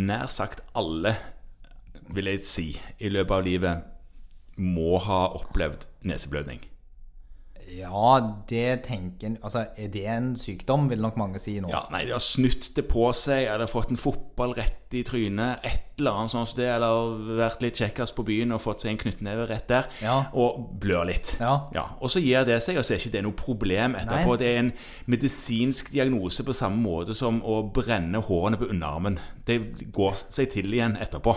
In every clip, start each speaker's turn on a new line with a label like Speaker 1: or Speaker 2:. Speaker 1: nær sagt alle, vil jeg si, i løpet av livet må ha opplevd neseblødning.
Speaker 2: Ja, det tenker en Altså, er det en sykdom, vil nok mange si nå.
Speaker 1: Ja, nei, De har snytt det på seg, eller fått en fotball rett i trynet, et eller annet sånt som det, eller vært litt kjekkas på byen og fått seg en knyttneve rett der,
Speaker 2: Ja.
Speaker 1: og blør litt.
Speaker 2: Ja.
Speaker 1: Og så gir det seg, og så er ikke det noe problem etterpå.
Speaker 2: Nei.
Speaker 1: Det er en medisinsk diagnose på samme måte som å brenne hårene på underarmen. Det går seg til igjen etterpå.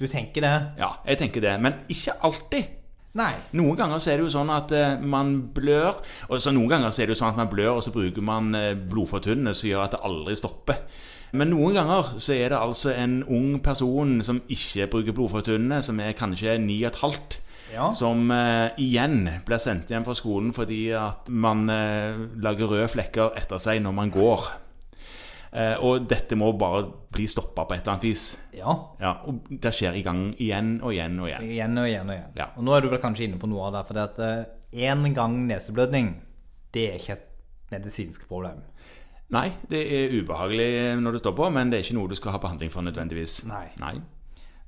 Speaker 2: Du tenker det?
Speaker 1: Ja, jeg tenker det. Men ikke alltid.
Speaker 2: Nei.
Speaker 1: Noen ganger så er det jo sånn at eh, man blør, og så noen ganger så er det jo sånn at man blør, og så bruker man eh, blodfortynnende som gjør at det aldri stopper. Men noen ganger så er det altså en ung person som ikke bruker blodfortynnende, som er kanskje ni og et halvt,
Speaker 2: Ja.
Speaker 1: som eh, igjen blir sendt hjem fra skolen fordi at man eh, lager røde flekker etter seg når man går. Eh, og dette må bare bli stoppa på et eller annet vis.
Speaker 2: Ja.
Speaker 1: Ja, og det skjer i gang igjen og igjen og igjen.
Speaker 2: Igjen og igjen og igjen.
Speaker 1: Ja.
Speaker 2: Og nå er du vel kanskje inne på noe av det, for at én gang neseblødning, det er ikke et medisinsk problem.
Speaker 1: Nei, det er ubehagelig når det står på, men det er ikke noe du skal ha behandling for nødvendigvis.
Speaker 2: Nei.
Speaker 1: Nei.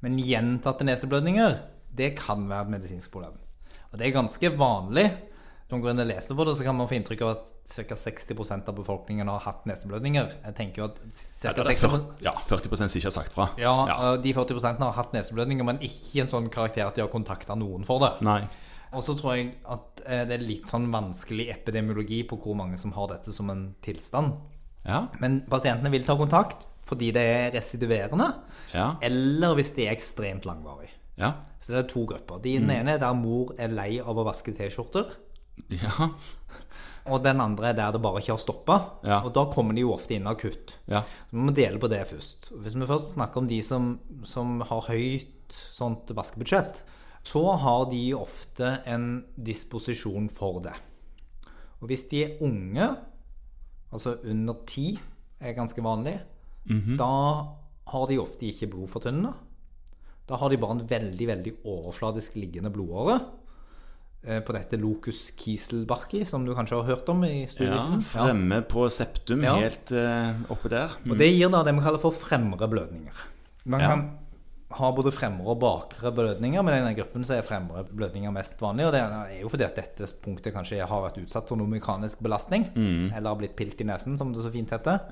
Speaker 2: Men gjentatte neseblødninger, det kan være et medisinsk problem. Og det er ganske vanlig. Når man går inn og leser på det, så kan man få inntrykk av at ca. 60 av befolkningen har hatt neseblødninger. Jeg tenker jo at
Speaker 1: Ja,
Speaker 2: cirka
Speaker 1: det er
Speaker 2: 60
Speaker 1: 40, ja, 40 som ikke har sagt fra.
Speaker 2: ja, eh. og De 40 har hatt neseblødninger, men ikke i en sånn karakter at de har kontakta noen for det.
Speaker 1: Nei.
Speaker 2: Og så tror jeg at eh, det er litt sånn vanskelig epidemiologi på hvor mange som har dette som en tilstand.
Speaker 1: Ja.
Speaker 2: Men pasientene vil ta kontakt fordi det er residuerende,
Speaker 1: Ja.
Speaker 2: eller hvis det er ekstremt langvarig.
Speaker 1: Ja.
Speaker 2: Så det er to grupper. Den
Speaker 1: Mm.
Speaker 2: ene er der mor er lei av å vaske T-skjorter.
Speaker 1: Ja.
Speaker 2: Og den andre er der det bare ikke har stoppa.
Speaker 1: Ja.
Speaker 2: Og da kommer de jo ofte inn akutt.
Speaker 1: Ja.
Speaker 2: Så vi må dele på det først. Hvis vi først snakker om de som, som har høyt sånt vaskebudsjett, så har de ofte en disposisjon for det. Og hvis de er unge, altså under ti, er ganske vanlig, da har de ofte ikke blodfortynnende. Da har de bare en veldig, veldig overfladisk liggende blodåre eh, på dette locus kiselbarki, som du kanskje har hørt om i
Speaker 1: ja.
Speaker 2: studien.
Speaker 1: Fremme på septum,
Speaker 2: Ja.
Speaker 1: helt eh, oppe der.
Speaker 2: Og det gir da det vi kaller for fremre blødninger. Man
Speaker 1: Ja.
Speaker 2: kan ha både fremre og bakre blødninger, men i denne gruppen så er fremre blødninger mest vanlig. Og det er jo fordi at dette punktet kanskje har vært utsatt for noe mekanisk belastning, eller har blitt pilt i nesen, som det så fint heter.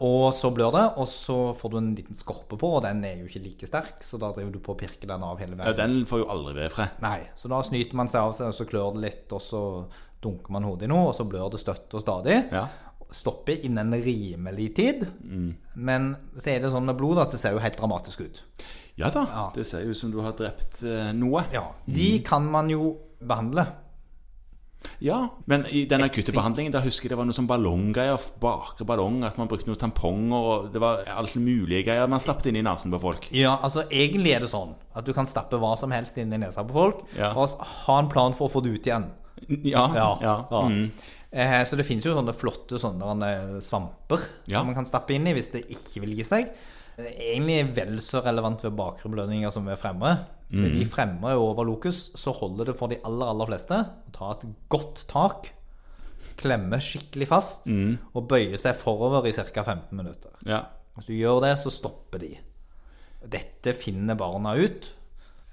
Speaker 2: Og så blør det, og så får du en liten skorpe på, og den er jo ikke like sterk, så da driver du på å pirke den av hele veien.
Speaker 1: Ja, den får jo aldri være fred.
Speaker 2: Nei, så da snyter man seg av seg, og så klør det litt, og så dunker man hodet i noe, og så blør det støtt og stadig.
Speaker 1: Ja. Mm.
Speaker 2: Stopper innen en rimelig tid. Men så er det sånn med blod at det ser jo helt dramatisk ut.
Speaker 1: Ja da. Det ser jo ut som du har drept eh, noe.
Speaker 2: Ja, De
Speaker 1: Mm.
Speaker 2: kan man jo behandle.
Speaker 1: Ja, men i den akutte behandlingen Der husker jeg det var noe sånn ballonggreier Bakre ballong, at man brukte noen tamponger Og det var alt mulige greier Man slapp det inn i nasen på folk
Speaker 2: Ja, altså Egentlig er det sånn at du kan stappe hva som helst inn i nesa på folk,
Speaker 1: Ja.
Speaker 2: og s- ha en plan for å få det ut igjen.
Speaker 1: Ja, ja,
Speaker 2: Ja. ja. Eh, Så det finnes jo sånne flotte sånne eh, svamper
Speaker 1: Ja.
Speaker 2: som man kan stappe inn i hvis det ikke vil gi seg. Eh, Egentlig er vel så relevant ved bakre belønninger som ved fremre. Når de fremre er over lokus, så holder det for de aller, aller fleste å ta et godt tak, klemme skikkelig fast og bøye seg forover i ca. 15 minutter.
Speaker 1: ja.
Speaker 2: Hvis du gjør det, så stopper de. Dette finner barna ut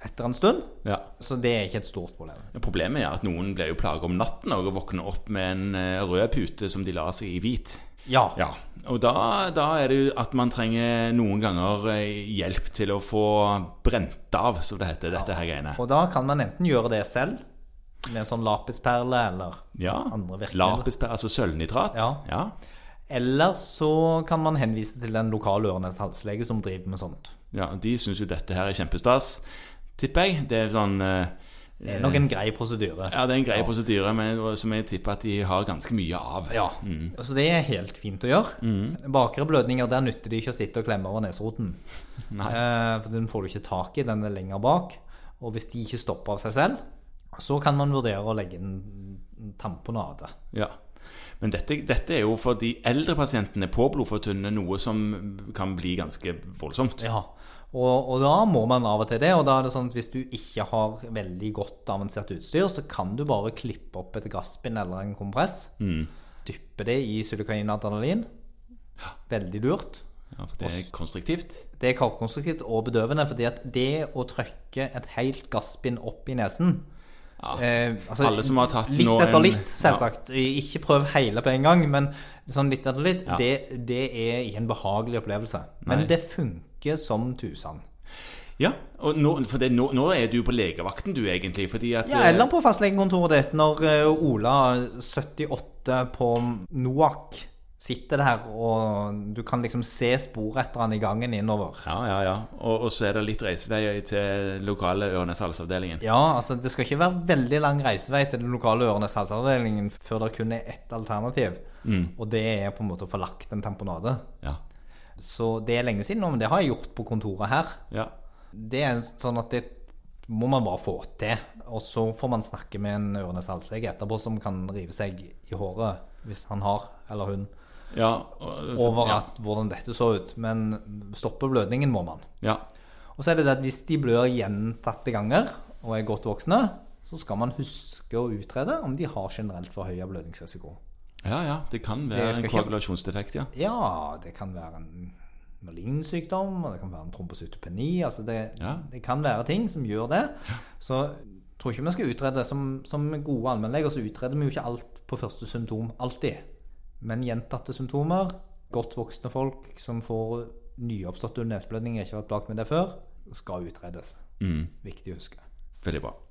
Speaker 2: etter en stund,
Speaker 1: ja.
Speaker 2: så det er ikke et stort problem.
Speaker 1: Problemet er at noen blir jo plaget om natten Og våkner opp med en eh, rød pute Som de la seg i hvit
Speaker 2: Ja.
Speaker 1: Ja, og da, da er det jo at man trenger noen ganger eh, hjelp til å få brent av, som det heter, dette her greiene.
Speaker 2: Og da kan man enten gjøre det selv, med en sånn lapisperle eller
Speaker 1: Ja,
Speaker 2: andre virkemidler.
Speaker 1: lapispær, altså sølvnitrat.
Speaker 2: Ja.
Speaker 1: ja.
Speaker 2: Eller så kan man henvise til en lokal ørenes-halslege som driver med sånt.
Speaker 1: Ja, de syns jo dette her er kjempestas, tipper jeg. Det er sånn eh,
Speaker 2: Det er nok en grei prosedyre.
Speaker 1: Ja, det er en grei prosedyre men, som jeg tipper at de har ganske mye av.
Speaker 2: Ja.
Speaker 1: Mm.
Speaker 2: Så det er helt fint å gjøre. Bakre blødninger, der nytter det ikke å sitte og klemme over neseroten.
Speaker 1: Nei.
Speaker 2: Eh, for den får du ikke tak i, den er lenger bak. Og hvis de ikke stopper av seg selv, så kan man vurdere å legge en tamponade.
Speaker 1: Ja. Men dette, dette er jo for de eldre pasientene på blodfortynnende noe som kan bli ganske voldsomt.
Speaker 2: Ja, og, og da må man av og til det. Og da er det sånn at hvis du ikke har veldig godt avansert utstyr, så kan du bare klippe opp et gasspinn eller
Speaker 1: Mm.
Speaker 2: en kompress. Dyppe det i sylikain adrenalin. Veldig lurt.
Speaker 1: Ja, for det er konstruktivt.
Speaker 2: Det er kalkkonstruktivt og bedøvende, fordi at det å trykke et helt gasspinn opp i nesen eh, altså,
Speaker 1: Alle som har tatt
Speaker 2: Litt
Speaker 1: nå
Speaker 2: etter
Speaker 1: en-
Speaker 2: litt, selvsagt. Ikke prøv hele på en gang, men sånn litt etter litt,
Speaker 1: Ja.
Speaker 2: det, det er ikke en behagelig opplevelse. Men det funker som tusen.
Speaker 1: Ja, og nå, for det, nå, nå er du på legevakten, du, egentlig. Fordi at
Speaker 2: Ja,
Speaker 1: eh,
Speaker 2: eller på fastlegekontoret ditt, når eh, Ola 78 på Noak sitter der, og du kan liksom se spor etter han i gangen innover.
Speaker 1: Ja, ja, ja. Og, og så er det litt reisevei til lokale Ørnes Halsavdelingen.
Speaker 2: Ja, altså det skal ikke være veldig lang reisevei til den lokale Ørenes helseavdelingen før det kun er ett alternativ, og det er på en måte å få lagt en tamponade.
Speaker 1: Ja.
Speaker 2: Så det er lenge siden nå, men det har jeg gjort på kontoret her.
Speaker 1: ja.
Speaker 2: Det er sånn at det må man bare få til, og så får man snakke med en Ørenes halslege etterpå som kan rive seg i håret hvis han har, eller hun,
Speaker 1: ja. og-
Speaker 2: over
Speaker 1: ja.
Speaker 2: at hvordan dette så ut, men stoppe blødningen må man.
Speaker 1: ja.
Speaker 2: Og så er det det at hvis de blør gjentatte ganger og er godt voksne, så skal man huske å utrede om de har generelt forhøya blødningsrisiko.
Speaker 1: Ja, ja. Det kan være
Speaker 2: Det skal
Speaker 1: en
Speaker 2: ikke-
Speaker 1: koagulasjonsdefekt, ja.
Speaker 2: Ja, det kan være en malinsykdom, og det kan være en trombocytopeni. Altså det,
Speaker 1: Ja.
Speaker 2: det kan være ting som gjør det. Så jeg tror ikke vi skal utrede som, som gode allmennleger, så utreder vi jo ikke alt på første symptom alltid. Men gjentatte symptomer, godt voksne folk som får
Speaker 1: Mm.
Speaker 2: nyoppstått neseblødninger, ikke har vært plaget med det før, skal utredes. Viktig å huske.
Speaker 1: Veldig bra.